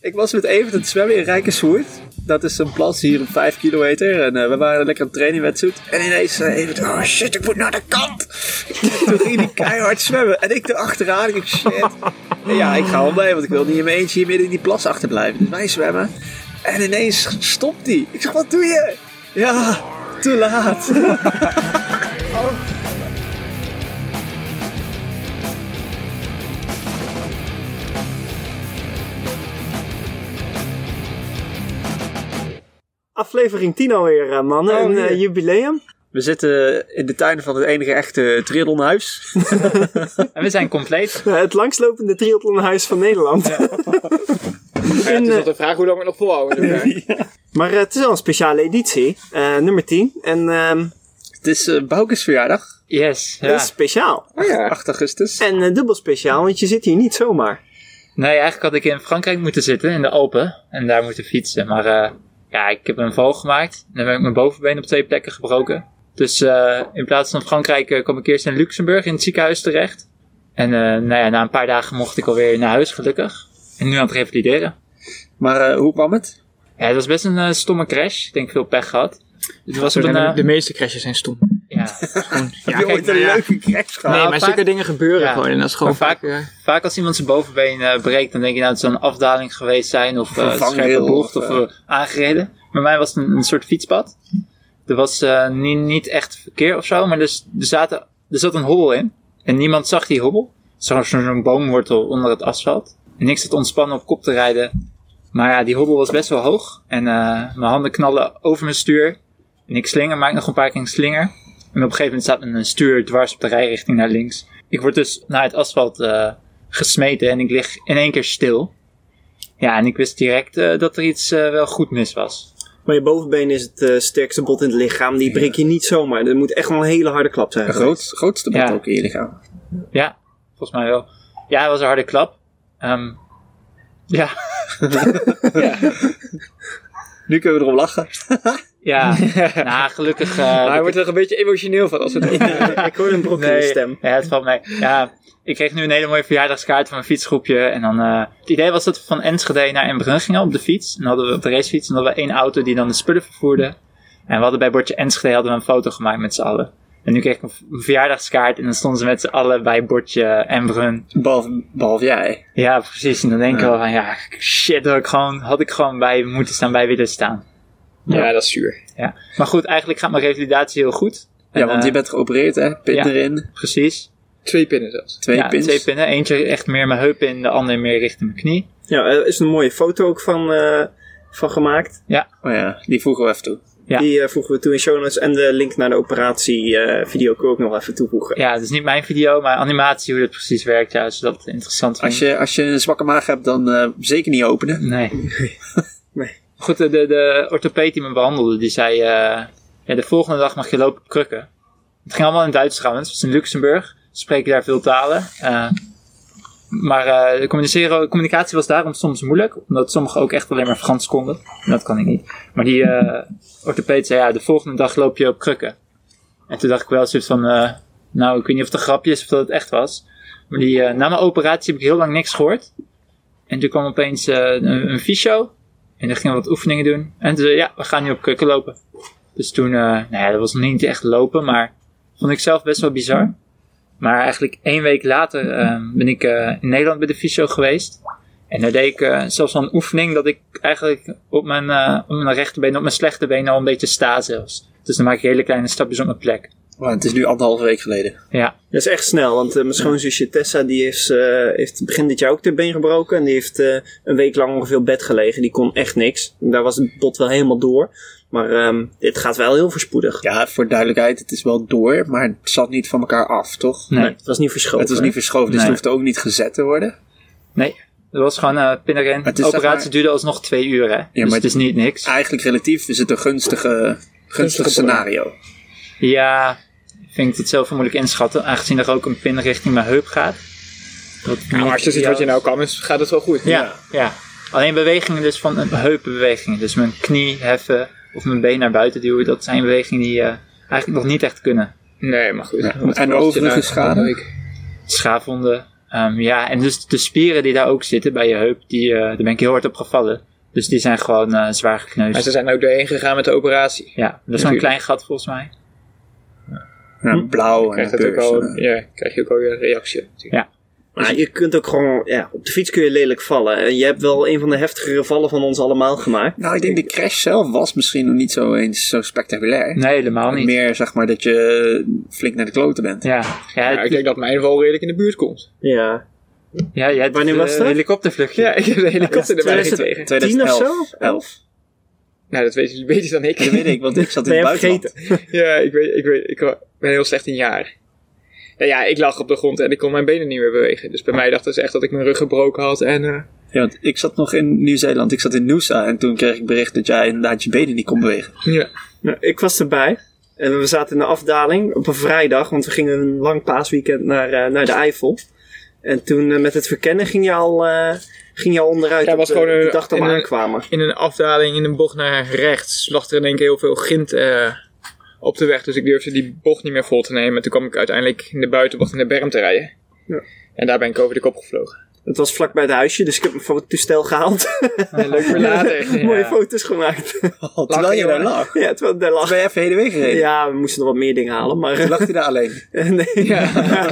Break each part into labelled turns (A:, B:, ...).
A: Ik was met Evert aan het zwemmen in Rijkerswoerd. Dat is een plas hier op 5 kilometer. En eh, we waren lekker aan het trainen met zoet. En ineens zei Evert, oh shit, ik moet naar de kant. Toen ging hij keihard zwemmen. En ik erachteraan. Ik dacht, shit. En ja, ik ga wel mee, want ik wil niet in mijn eentje hier midden in die plas achterblijven. Dus wij zwemmen. En ineens stopt hij. Ik zeg, wat doe je? Ja, te laat.
B: Aflevering 10 alweer, eh, mannen.
A: Oh,
B: een eh,
A: hier.
B: jubileum.
A: We zitten in de tuin van het enige echte triathlonhuis.
C: En we zijn compleet.
B: Eh, het langslopende triathlonhuis van Nederland.
D: Ja,
B: En,
D: het is
B: eh,
D: altijd de vraag hoe lang we het nog volhouden. zeg maar.
B: maar eh, het is wel een speciale editie. eh, nummer 10. En ehm
A: het is eh Boukes verjaardag,
C: Yes.
B: dat
C: Ja.
B: is speciaal.
D: Oh ja.
A: 8 augustus.
B: En eh, dubbel speciaal, want je zit hier niet zomaar.
C: Nee, eigenlijk had ik in Frankrijk moeten zitten, in de Alpen. En daar moeten fietsen. Maar eh, ja, ik heb een val gemaakt. En dan heb ik mijn bovenbeen op twee plekken gebroken. Dus eh, in plaats van Frankrijk eh, kwam ik eerst in Luxemburg in het ziekenhuis terecht. En eh, nou ja, na een paar dagen mocht ik alweer naar huis, gelukkig. En nu aan het revalideren.
A: Maar eh, hoe kwam het?
C: Ja, het was best een eh, stomme crash. Ik denk veel pech gehad. Het was
D: Zo
C: op een...
D: zijn de-
C: eh,
D: de meeste crashes zijn stom.
C: ja,
A: Heb je
D: kijk,
A: ooit een
D: nou ja.
A: leuke crash gehad?
D: nee,
C: maar
D: maar
C: vaak-
D: zulke dingen gebeuren
C: Ja.
D: gewoon. En dat is gewoon
C: Maar vaak-
D: vaak... eh,
C: Vaak als iemand zijn bovenbeen eh, breekt, dan denk je nou het zou een afdaling geweest zijn of eh
A: Een vangrail
C: scherpe bocht
A: of,
C: of,
A: eh.
C: eh, aangereden. Bij mij was het een, een soort fietspad. Er was eh, niet, niet echt verkeer of zo, maar dus, er, zaten, er zat een hobbel in. En niemand zag die hobbel. Zo- Zo'n zo'n boomwortel onder het asfalt. En ik zat ontspannen op kop te rijden. Maar ja, die hobbel was best wel hoog. En eh, mijn handen knallen over mijn stuur. En ik slinger, maak nog een paar keer een slinger. En op een gegeven moment staat mijn stuur dwars op de rijrichting naar links. Ik word dus naar het asfalt eh, gesmeten en ik lig in één keer stil. Ja, en ik wist direct eh, dat er iets eh, wel goed mis was.
B: Maar je bovenbeen is het eh, sterkste bot in het lichaam. Die breek je niet zomaar. Dat moet echt wel een hele harde klap zijn.
A: Een
B: geweest.
A: groot, grootste bot
C: Ja.
A: ook in je lichaam.
C: Ja, volgens mij wel. Ja, het was een harde klap. Ehm, ja,
A: Nu kunnen we erom lachen.
C: ja. nou, gelukkig. eh,
D: hij wordt er een beetje emotioneel van als het
B: Ik hoor een brok in je stem.
C: Ja, het valt mee. Ja, ik kreeg nu een hele mooie verjaardagskaart van mijn fietsgroepje. En dan, eh, het idee was dat we van Enschede naar Embrun gingen op de fiets. En dan hadden we op de racefiets en dan hadden we één auto die dan de spullen vervoerde. En we hadden bij bordje Enschede hadden we een foto gemaakt met z'n allen. En nu kreeg ik een v- een verjaardagskaart en dan stonden ze met z'n allen bij bordje Embrun.
A: Behalve, behalve jij.
C: Ja, precies. En dan denk ik wel van, ja, shit, had ik gewoon, had ik gewoon bij moeten staan, bij willen staan.
D: Ja, dat is zuur.
C: Ja. Maar goed, eigenlijk gaat mijn revalidatie heel goed.
A: Ja,
C: En,
A: want
C: eh,
A: je bent geopereerd, hè? Pin
C: ja.
A: erin,
C: Precies.
D: Twee pinnen zelfs.
A: twee
C: ja,
A: pins.
C: twee pinnen. Eentje echt meer mijn heup in, de andere meer richting mijn knie.
B: Ja, Eh, er is een mooie foto ook van, eh, van gemaakt.
A: Oh ja, die voegen we even toe.
C: Ja.
B: Die eh, voegen we toe in show notes. En de link naar de operatie eh video kan ik ook nog even toevoegen.
C: Ja, het is niet mijn video, maar animatie, hoe dat precies werkt. Ja, als je dat interessant vindt.
A: Als je, als je een zwakke maag hebt, dan eh, zeker niet openen.
C: Nee.
B: Nee.
C: Goed, de, de, de orthopeed die me behandelde, die zei... eh, ja, de volgende dag mag je lopen op krukken. Het ging allemaal in het Duits trouwens. Het is in Luxemburg. Ze spreken daar veel talen. eh, maar eh, de communiceren- communicatie was daarom soms moeilijk. Omdat sommigen ook echt alleen maar Frans konden. En dat kan ik niet. Maar die eh orthopeed zei, ja, de volgende dag loop je op krukken. En toen dacht ik wel zoiets van... eh, nou, ik weet niet of het een grapje is of dat het echt was. Maar die, eh, na mijn operatie heb ik heel lang niks gehoord. En toen kwam opeens eh, een, een fysio. En dan gingen we wat oefeningen doen. En toen zei ja, we gaan nu op krukken lopen. Dus toen, eh, nou ja, dat was nog niet echt lopen, maar vond ik zelf best wel bizar. Maar eigenlijk één week later eh, ben ik eh, in Nederland bij de fysio geweest. En daar deed ik eh, zelfs wel een oefening dat ik eigenlijk op mijn, eh, op mijn rechterbeen, op mijn slechte been al een beetje sta zelfs. Dus dan maak ik hele kleine stapjes op mijn plek.
A: Maar het is nu anderhalve week geleden.
C: Ja,
B: Dat is echt snel, want eh, mijn schoonzusje Tessa die heeft, eh, heeft begin dit jaar ook haar been gebroken. En die heeft eh, een week lang ongeveer op bed gelegen. Die kon echt niks. Daar was het bot wel helemaal door. Maar ehm, dit gaat wel heel voorspoedig.
A: Ja, voor duidelijkheid, het is wel door, maar het zat niet van elkaar af, toch?
C: nee.
B: Nee, het was niet verschoven.
A: Het was niet verschoven, dus
C: Nee.
A: het hoeft ook niet gezet te worden.
C: Nee, dat was gewoon eh pinneren.
A: het
C: De
A: is zeg
C: operatie
A: maar-
C: duurde alsnog twee uur, hè. dus
A: maar
C: het is niet niks.
A: Eigenlijk relatief is het een gunstige, gunstig
D: Gunstige
A: scenario.
C: Ja, vind ik het zelf wel moeilijk inschatten. Aangezien er ook een pin richting mijn heup gaat. Dat
D: Ja, maar als je ziet wat je nou kan, is- gaat het wel goed.
C: Ja, ja. Alleen bewegingen dus van een heupenbewegingen. Dus mijn knie heffen of mijn been naar buiten duwen. Dat zijn bewegingen die eh, eigenlijk nog niet echt kunnen.
D: Nee, maar goed.
A: en
D: kost je
A: overige schade?
D: een week?
C: Schaafwonden, eh, Ehm, ja, en dus de spieren die daar ook zitten bij je heup, die, eh, daar ben ik heel hard op gevallen. Dus die zijn gewoon eh, zwaar
D: Maar ze
C: gekneusd.
D: zijn ook doorheen gegaan met de operatie.
C: Ja, dat is zo'n
D: Natuurlijk.
C: klein gat volgens mij.
A: Ja, blauw en
D: Hm? Krijg
A: een
D: dat ook
A: beurs.
D: al,
A: en, eh,
D: ja, dus, krijg je ook al weer een reactie. natuurlijk.
B: Maar je kunt ook gewoon, ja, op de fiets kun je lelijk vallen. En je hebt wel een van de heftigere vallen van ons allemaal gemaakt.
A: Nou, ik denk de crash zelf was misschien nog niet zo eens zo spectaculair.
C: Nee, helemaal niet.
A: Meer zeg maar dat je flink naar de kloten bent.
C: Ja, ja,
D: Ja,
C: het-
D: ik denk dat mijn val redelijk in de buurt komt.
B: Ja.
C: ja, jij hebt
B: Wanneer
C: een,
B: was
C: eh,
B: dat?
C: helikoptervluchtje.
D: Ja, ik heb de helikopter erbij gekregen.
A: 2011.
B: Tien of zo?
A: 11?
D: Nou, dat weet jullie beter dan ik.
A: Dat weet ik, want ik zat in
B: Ben
A: het
B: je
A: buitenland.
B: vergeten?
D: Ja, ik, weet, ik, weet, ik ben heel slecht in jaren. Nou ja, ik lag op de grond en ik kon mijn benen niet meer bewegen. Dus bij mij dachten ze echt dat ik mijn rug gebroken had. En eh,
A: Ja, want ik zat nog in Nieuw-Zeeland. Ik zat in Noosa en toen kreeg ik bericht dat jij inderdaad je benen niet kon bewegen.
D: ja.
B: Nou, ik was erbij. En we zaten in de afdaling op een vrijdag, want we gingen een lang paasweekend naar, eh, naar de Eifel. En toen eh, met het verkennen ging je al, eh, ging je al onderuit
D: Ja,
B: op
D: was
B: de,
D: gewoon, eh,
B: de dag dat we
D: in een-
B: aankwamen.
D: in een afdaling, in een bocht naar rechts, lag er in één keer heel veel grind eh, op de weg. Dus ik durfde die bocht niet meer vol te nemen. En toen kwam ik uiteindelijk in de buitenbocht in de berm te rijden.
B: Ja.
D: En daar ben ik over de kop gevlogen.
B: Het was vlak bij het huisje, dus ik heb mijn fototoestel gehaald.
D: leuk voor later.
B: Mooie
C: Ja.
B: foto's gemaakt.
A: Terwijl je
D: je
A: daar
D: daar?
A: lag.
B: ja, terwijl ik daar
A: Toen
B: lag.
A: ben je even heen en weer gereden.
B: Ja, we moesten nog wat meer dingen halen, maar
A: Toen lag hij daar alleen.
B: nee.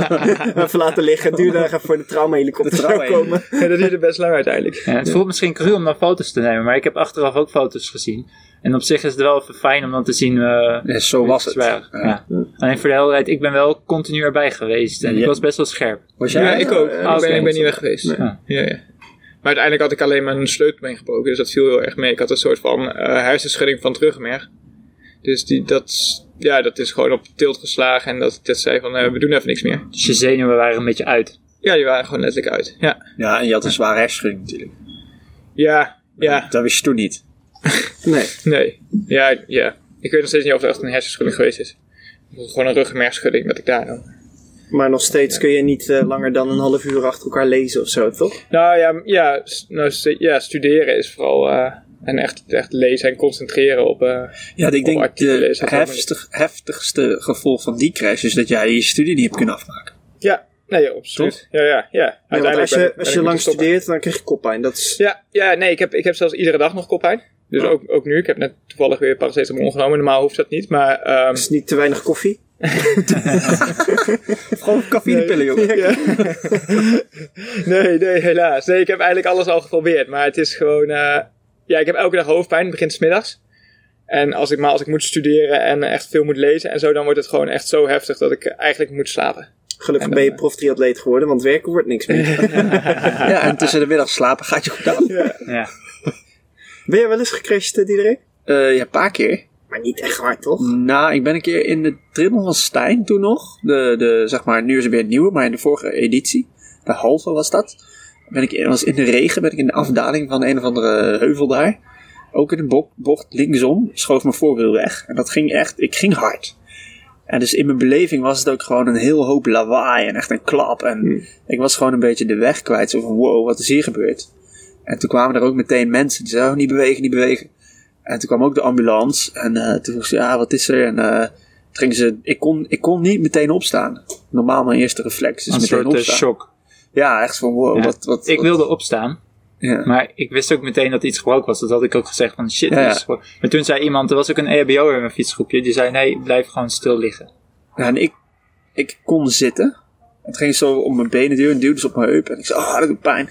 B: Even laten liggen, het duurde nog even voor de traumahelikopter
A: De
B: zou
A: trauma-
B: komen.
D: En dat duurde best lang uiteindelijk.
C: Ja, het voelt misschien cru om dan foto's te nemen, maar ik heb achteraf ook foto's gezien. En op zich is het wel even fijn om dan te zien eh,
A: Ja, zo was het.
C: zwaar. Ja. Alleen voor de helderheid, ik ben wel continu erbij geweest. En
A: Ja.
C: ik was best wel scherp.
A: Was jij
D: Ja,
A: er?
D: ik ook.
B: eh,
D: ik,
C: oké.
D: ben, ik ben niet weg geweest.
C: Ja.
D: Ja, ja. Maar uiteindelijk had ik alleen mijn sleutelbeen gebroken, dus dat viel heel erg mee. Ik had een soort van eh hersenschudding van het rugmerg. Dus die, dat, ja, dat is gewoon op tilt geslagen en dat, dat zei van, eh, we doen even niks meer.
C: Dus je zenuwen waren een beetje uit.
D: Ja, die waren gewoon letterlijk uit. Ja,
A: Ja, en je had een zware hersenschudding natuurlijk.
D: ja, ja,
A: Dat wist je toen niet.
B: Nee.
D: nee. Ja, ja. Ik weet nog steeds niet of het echt een hersenschudding geweest is. Gewoon een ruggenmergschudding dat ik daar dan.
B: Maar nog steeds kun je niet eh, langer dan een half uur achter elkaar lezen of zo, toch?
D: Nou ja, m- ja, s- nou, st- ja studeren is vooral... eh, en echt, echt lezen en concentreren op... eh,
A: Ja, ik denk eh, dat
D: artikelen
A: de
D: is dat wel
A: heftig, heftigste gevolg van die crash is dat jij je studie niet hebt kunnen afmaken.
D: ja, nee, absoluut.
A: Toch?
D: Ja, ja, ja.
B: Ja, want als
D: ben ik-
B: je,
D: ben
B: als
D: ik
B: je
D: moeten
B: lang
D: stoppen.
B: studeert, dan krijg je koppijn. Dat is,
D: Ja, ja nee, ik heb, ik heb zelfs iedere dag nog koppijn. Dus ook, ook nu. Ik heb net toevallig weer paracetamol genomen. Normaal hoeft dat niet. Maar ehm,
B: is niet te weinig koffie.
A: Of gewoon cafeïnepillen, jongen.
D: nee, nee, helaas. Nee, ik heb eigenlijk alles al geprobeerd. Maar het is gewoon... eh, ja, ik heb elke dag hoofdpijn. Het begint 's middags En als ik, maar als ik moet studeren en echt veel moet lezen en zo, dan wordt het gewoon echt zo heftig dat ik eigenlijk moet slapen.
B: Gelukkig
D: En
B: ben
A: eh,
B: je
D: dan,
B: prof-triatleet geworden, want werken wordt niks meer.
A: Ja, en tussen de middag slapen gaat je goed af.
C: Ja.
B: ben jij wel eens gecrashed, eh, Diederik?
A: Eh, ja, een paar keer.
B: Maar niet echt hard, toch?
A: Nou, ik ben een keer in de trimmel van Stijn toen nog. De, de, zeg maar, nu is er weer een nieuwe, maar in de vorige editie. De halve was dat. Ben ik, was in de regen ben ik in de afdaling van een of andere heuvel daar. Ook in een bok- bocht linksom schoof mijn voorwiel weg. En dat ging echt, ik ging hard. En dus in mijn beleving was het ook gewoon een heel hoop lawaai en echt een klap. En
C: Hmm.
A: ik was gewoon een beetje de weg kwijt. Zo van, wow, wat is hier gebeurd? En toen kwamen er ook meteen mensen die zeiden, oh, niet bewegen, niet bewegen. En toen kwam ook de ambulance. En eh, toen vroeg ze, ja, wat is er? En eh, toen gingen ze, ik kon, ik kon niet meteen opstaan. Normaal mijn eerste reflex is
C: Een
A: meteen
C: soort eh,
A: opstaan.
C: shock.
A: Ja, echt van wow,
C: Ja.
A: wat, wat,
C: Ik
A: wat-
C: wilde opstaan,
A: Ja.
C: maar ik wist ook meteen dat iets gebroken was. Dat had ik ook gezegd van shit.
A: Ja,
C: dit
A: ja.
C: is gebroken. Maar toen zei iemand, er was ook een EHBO in mijn fietsgroepje. Die zei nee, blijf gewoon stil liggen.
A: Ja, en ik, ik kon zitten. Het ging zo om mijn benen duwen en duwde ze op mijn heup. En ik zei, oh, dat doet pijn.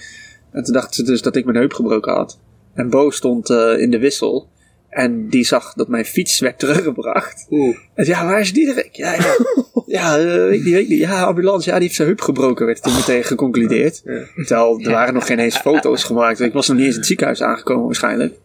A: En toen dacht ze dus dat ik mijn heup gebroken had. En Bo stond eh, in de wissel. En die zag dat mijn fiets werd teruggebracht.
C: Oeh.
A: En zei, ja, waar is Diederik? Ja, ja, ja eh, weet ik niet, weet ik niet. Ja, ambulance, ja, die heeft zijn heup gebroken, werd toen meteen geconcludeerd. Terwijl, er waren nog geen eens foto's gemaakt. Ik was nog niet eens in het ziekenhuis aangekomen waarschijnlijk.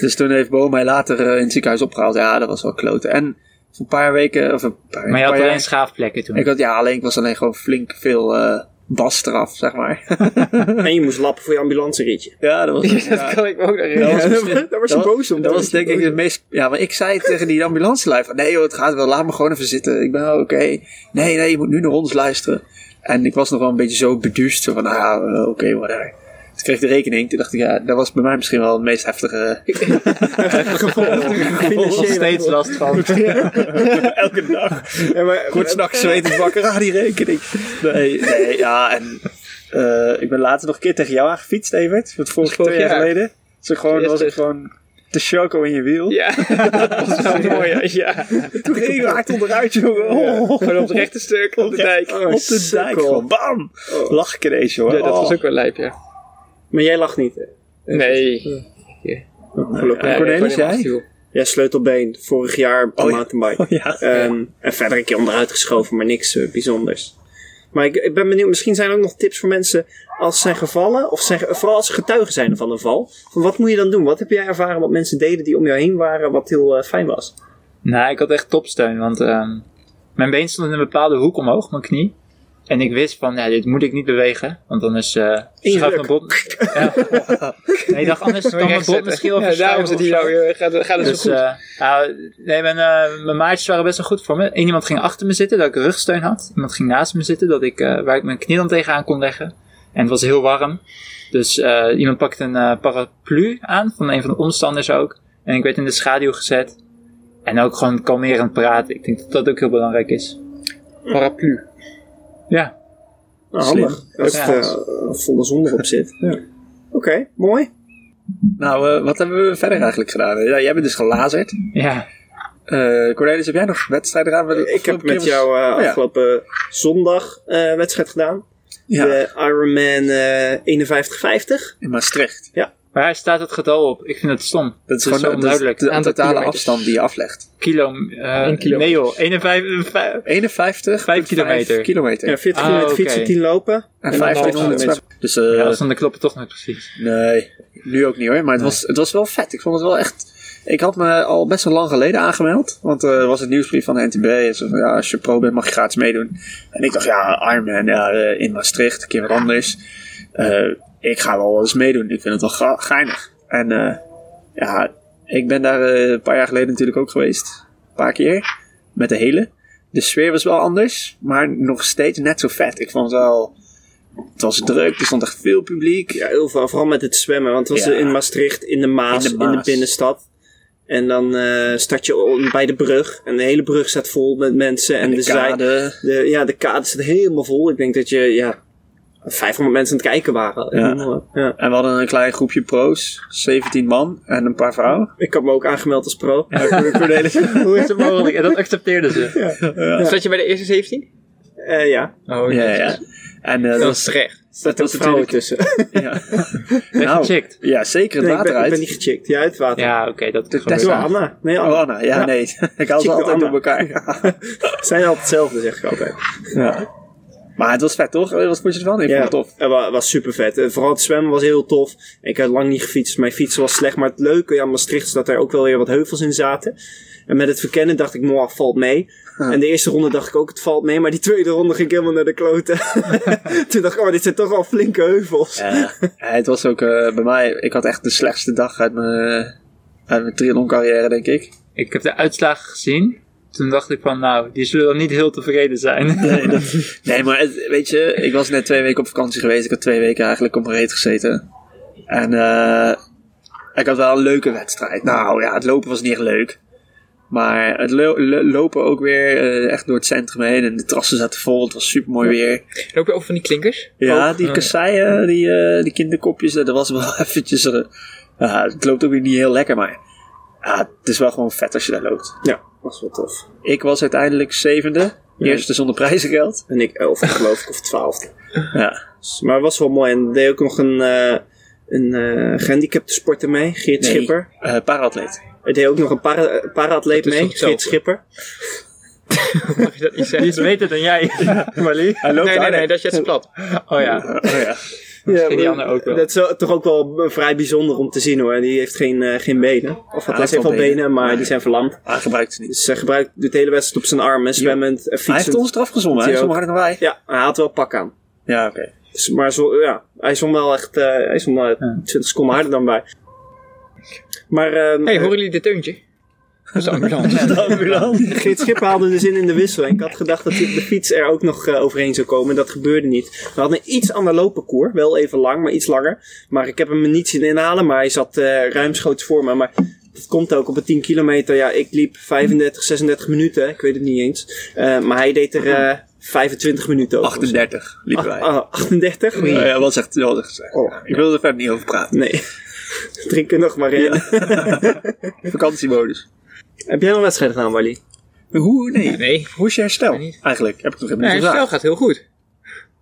A: Dus toen heeft Bo mij later eh, in het ziekenhuis opgehaald. Ja, dat was wel kloten. En voor een paar weken, of een paar,
C: Maar je had
A: paar
C: alleen
A: jaar-
C: schaafplekken toen.
A: ik had, ja, alleen ik was alleen gewoon flink veel eh bas eraf, zeg maar.
B: En je moest lappen voor je ambulancerietje.
A: ja, dat was... ja,
D: Dat kan ik me ook nog
A: dat
D: herinneren.
A: was-
B: Daar was je
A: dat-
B: boos om.
A: Dat was denk ik het meest... Ja, maar ik zei tegen die ambulancelui van... Nee joh, het gaat wel. Laat me gewoon even zitten. Ik ben wel oké. Nee, nee, je moet nu naar ons luisteren. En ik was nog wel een beetje zo beduusd. Zo van, nou ja, eh, oké, whatever. Toen kreeg ik de rekening. Toen dacht ik, ja, dat was bij mij misschien wel het meest heftige...
C: nog
B: Financiële-
C: steeds last van.
A: Elke dag.
B: Ja, maar,
A: Kort s'nachts zwetend wakker. Ah, die rekening. Nee, nee, ja. En eh, ik ben later nog een keer tegen jou aangefietst, Evert. Want vorig,
D: Vorig
A: twee jaar,
D: jaar.
A: geleden. Dus ik gewoon, was ik gewoon te choco in je wiel.
D: Ja, dat was wel mooi. Ja, ja.
A: Toen ging ik hard onderuit, jongen. Oh.
D: Gewoon op het rechte stuk, op de dijk.
A: Op de dijk, gewoon bam!
B: Oh.
A: Lach ik ineens, hoor.
D: Ja, dat was
A: Oh.
D: ook wel lijp, ja.
B: Maar jij lacht niet. hè?
A: Eh,
D: Nee.
B: Gelukkig.
D: Ja,
A: Cornelis,
D: ik ben
A: jij?
D: helemaal
B: Ja, sleutelbeen. Vorig jaar op de
A: eh, Oh ja.
B: mountainbike.
A: Oh, ja.
B: Ehm, en verder een keer onderuit geschoven, maar niks eh, bijzonders. Maar ik, ik ben benieuwd, misschien zijn er ook nog tips voor mensen als ze zijn gevallen, of zijn, vooral als ze getuigen zijn van een val. Van wat moet je dan doen? Wat heb jij ervaren wat mensen deden die om jou heen waren, wat heel eh, fijn was?
C: Nou, ik had echt topsteun, want ehm, mijn been stond in een bepaalde hoek omhoog, mijn knie. En ik wist van, ja, dit moet ik niet bewegen, want anders eh schuift mijn
B: ruk.
C: bot... Ja. Nee, ik dacht, anders kan mijn bot misschien wel
D: Ja, daarom zit
C: verschuiven of
D: hij nou
C: zo.
D: weer, gaat, gaat het
C: Dus,
D: zo goed.
C: eh, nou, nee, mijn, eh, mijn maatjes waren best wel goed voor me. Eén iemand ging achter me zitten, dat ik rugsteun had. Iemand ging naast me zitten, dat ik, eh, waar ik mijn knie dan tegenaan kon leggen. En het was heel warm. Dus eh, iemand pakte een eh, paraplu aan, van een van de omstanders ook. En ik werd in de schaduw gezet. En ook gewoon kalmerend praten. Ik denk dat dat ook heel belangrijk is.
A: eh,
D: Paraplu.
C: Ja.
B: Nou,
A: Slim.
B: handig. Als
C: Ja.
B: het eh, volle zon erop zit.
A: Ja.
B: Oké, mooi.
A: Nou, eh, wat hebben we verder eigenlijk gedaan? Ja, jij bent dus gelazerd.
C: Ja.
A: Eh, Cornelis, heb jij nog wedstrijden gedaan? Want de
B: Ik heb
A: afgelopen
B: met
A: keer was-
B: jou eh,
A: Oh, ja.
B: afgelopen zondag eh, wedstrijd gedaan.
A: Ja,
B: De Ironman eh 51-50.
A: in Maastricht.
C: Maar daar staat het getal op. Ik vind het stom.
A: Dat is
C: Het
A: gewoon
C: zo
A: de- de,
C: onduidelijk.
A: de,
D: Aantal
A: totale
D: kilometers.
A: afstand die je aflegt.
C: Kilo, eh,
D: Eén kilo.
C: Nee joh, 51.
A: 51,
C: Vijf kilometer.
A: kilometer.
B: Ja, 40
C: Ah,
B: kilometer fietsen,
C: oké.
B: 10 lopen.
A: en
B: dan
A: 1500
B: half
A: zwemmen. Dus eh,
C: Ja, dat dan de kloppen toch niet precies.
A: nee, nu ook niet hoor. Maar het, was, het was wel vet. Ik vond het wel echt... Ik had me al best wel lang geleden aangemeld. Want eh, er was een nieuwsbrief van de NTB. En zo van, ja, als je pro bent mag je gratis meedoen. En ik dacht, ja, Ironman ja, eh, in Maastricht. Een keer wat anders. Eh, ik ga wel eens meedoen. Ik vind het wel gra- geinig. En eh, ja, ik ben daar eh, een paar jaar geleden natuurlijk ook geweest. Een paar keer. Met de hele. De sfeer was wel anders. Maar nog steeds net zo vet. Ik vond het wel... Het was druk. Er stond echt veel publiek.
B: Ja, heel veel. Vooral met het zwemmen. Want het was
A: Ja.
B: in Maastricht, in de, Maas,
A: In
B: in
A: de
B: de
A: Maas.
B: binnenstad. En dan eh start je om- bij de brug. En de hele brug staat vol met mensen. En, de, zijde.
A: kade.
B: De, ja, de kade staat helemaal vol. Ik denk dat je, ja, 500 mensen aan het kijken waren.
A: Ja.
B: Ja.
A: En we hadden een klein groepje pro's. 17 man en een paar vrouwen.
B: Ik had me ook aangemeld als pro.
A: Cornelis.
C: Hoe is het mogelijk? En dat accepteerden ze.
D: Zat je bij de eerste 17?
B: Eh, ja,
C: Oh,
A: ja, ja. En eh,
D: Dat
A: dat,
D: is terecht.
B: staat ook
A: was
B: vrouwen tussen.
A: ja.
C: Nou.
A: Nou,
C: Gecheckt.
A: ja, zeker het
B: nee, ik
A: water
B: ben, ik
A: uit.
B: ben niet gecheckt. Ja, het water.
C: Ja, oké, dat
A: De
C: gebeurt.
A: test-
B: Door Anna. Nee,
A: Oh,
B: Anna.
A: Anna. Ja, nee. ik haal ze
B: Chico
A: altijd
B: Anna.
A: door elkaar.
B: Het zijn altijd hetzelfde, zeg ik altijd.
A: ja. Maar het was vet, toch? Eh, Wat vond je ervan? Ik
B: Ja,
A: vond het tof.
B: Het wa- was super vet. Vooral het zwemmen was heel tof. Ik had lang niet gefietst. Mijn fiets was slecht. Maar het leuke aan Maastricht is dat er ook wel weer wat heuvels in zaten. En met het verkennen dacht ik, moah, valt mee. En de eerste ronde dacht ik ook, het valt mee. Maar die tweede ronde ging ik helemaal naar de kloten. Toen dacht ik, oh, dit zijn toch wel flinke heuvels.
A: Ja. Ja, eh, het was ook eh, bij mij... Ik had echt de slechtste dag uit mijn, uit mijn triathloncarrière, denk ik.
C: Ik heb de uitslagen gezien. Toen dacht ik van, nou, die zullen dan niet heel tevreden zijn.
A: Nee, dat- nee, maar het- weet je, ik was net twee weken op vakantie geweest. Ik had twee weken eigenlijk op mijn reet gezeten. En eh, ik had wel een leuke wedstrijd. Nou ja, het lopen was niet echt leuk. Maar het lo- lo- lopen ook weer eh, echt door het centrum heen. En de terrassen zaten vol. Het was super mooi weer.
D: Loop je over van die klinkers? Oh,
A: Ja,
D: Ook.
A: die
D: Ja.
A: kasseien, die, eh, die kinderkopjes. Dat was wel eventjes... eh, ja, het loopt ook weer niet heel lekker, maar... ja, het is wel gewoon vet als je daar loopt.
B: Ja, was wel tof.
A: Ik was uiteindelijk zevende. Eerste zonder prijzengeld.
B: En ik elf, geloof ik, of twaalfde.
A: Ja.
B: Dus- Maar het was wel mooi. En er deed ook nog een, eh een eh gehandicapte sporter mee. Geert
A: Nee,
B: Schipper.
A: eh, paraatleet.
B: Er deed ook nog een para- para-atleet
D: Dat is
B: mee.
D: toch hetzelfde?
B: Geert Schipper.
D: Mag je dat niet
C: Die
D: zeggen?
C: is beter dan jij, Wally.
A: Hij loopt
D: Nee, nee,
A: aan-
D: nee, dat je het is plat.
C: Oh ja.
A: Oh, ja.
B: Ja,
C: die
B: maar
C: ander ook wel.
B: Dat is wel- toch ook wel vrij bijzonder om te zien hoor. Die heeft geen, eh, geen benen. Of
A: hij
B: hij heeft
A: heeft
B: wel
A: wel
B: benen,
A: benen,
B: maar
A: maar-
B: die zijn verlamd.
A: Hij gebruikt het niet.
B: Dus hij gebruikt de hele wedstrijd op zijn armen, zwemmend, en
A: Hij heeft
B: fietsend.
A: ons eraf gezongen, hè?
B: Die
A: Zo
B: ook.
A: harder dan wij.
B: Ja, hij had wel pak aan.
A: Ja, oké.
B: Dus, maar zo, ja, hij zwom wel echt eh, hij zwom wel 20 seconden harder dan wij. Maar ehm
D: Hey, horen jullie dit teuntje? Dat is de ambulance.
B: Geert Schipper haalde de zin in de wissel. En ik had gedacht dat die- de fiets er ook nog eh, overheen zou komen. Dat gebeurde niet. We hadden een iets ander loopparcours. Wel even lang, maar iets langer. Maar ik heb hem er niet zien inhalen. Maar hij zat eh, ruimschoots voor me. Maar dat komt ook op een 10 kilometer. Ja, ik liep 35, 36 minuten. Ik weet het niet eens. Eh, maar hij deed er eh, 25 minuten over.
A: 38 liepen wij.
B: Ah, 38?
A: Ja, Oh ja, was echt, dat was echt slecht.
B: Oh.
A: Ik wilde er verder niet over praten.
B: Nee. Drinken nog maar in.
A: Vakantiemodus.
B: Heb jij nog wedstrijden gedaan, Wally?
A: Hoe? Nee.
D: Nee.
A: Hoe is je herstel
D: niet.
A: eigenlijk? Heb ik nog helemaal
D: Nee,
A: niet
D: het spel
A: gevraagd.
D: gaat heel goed.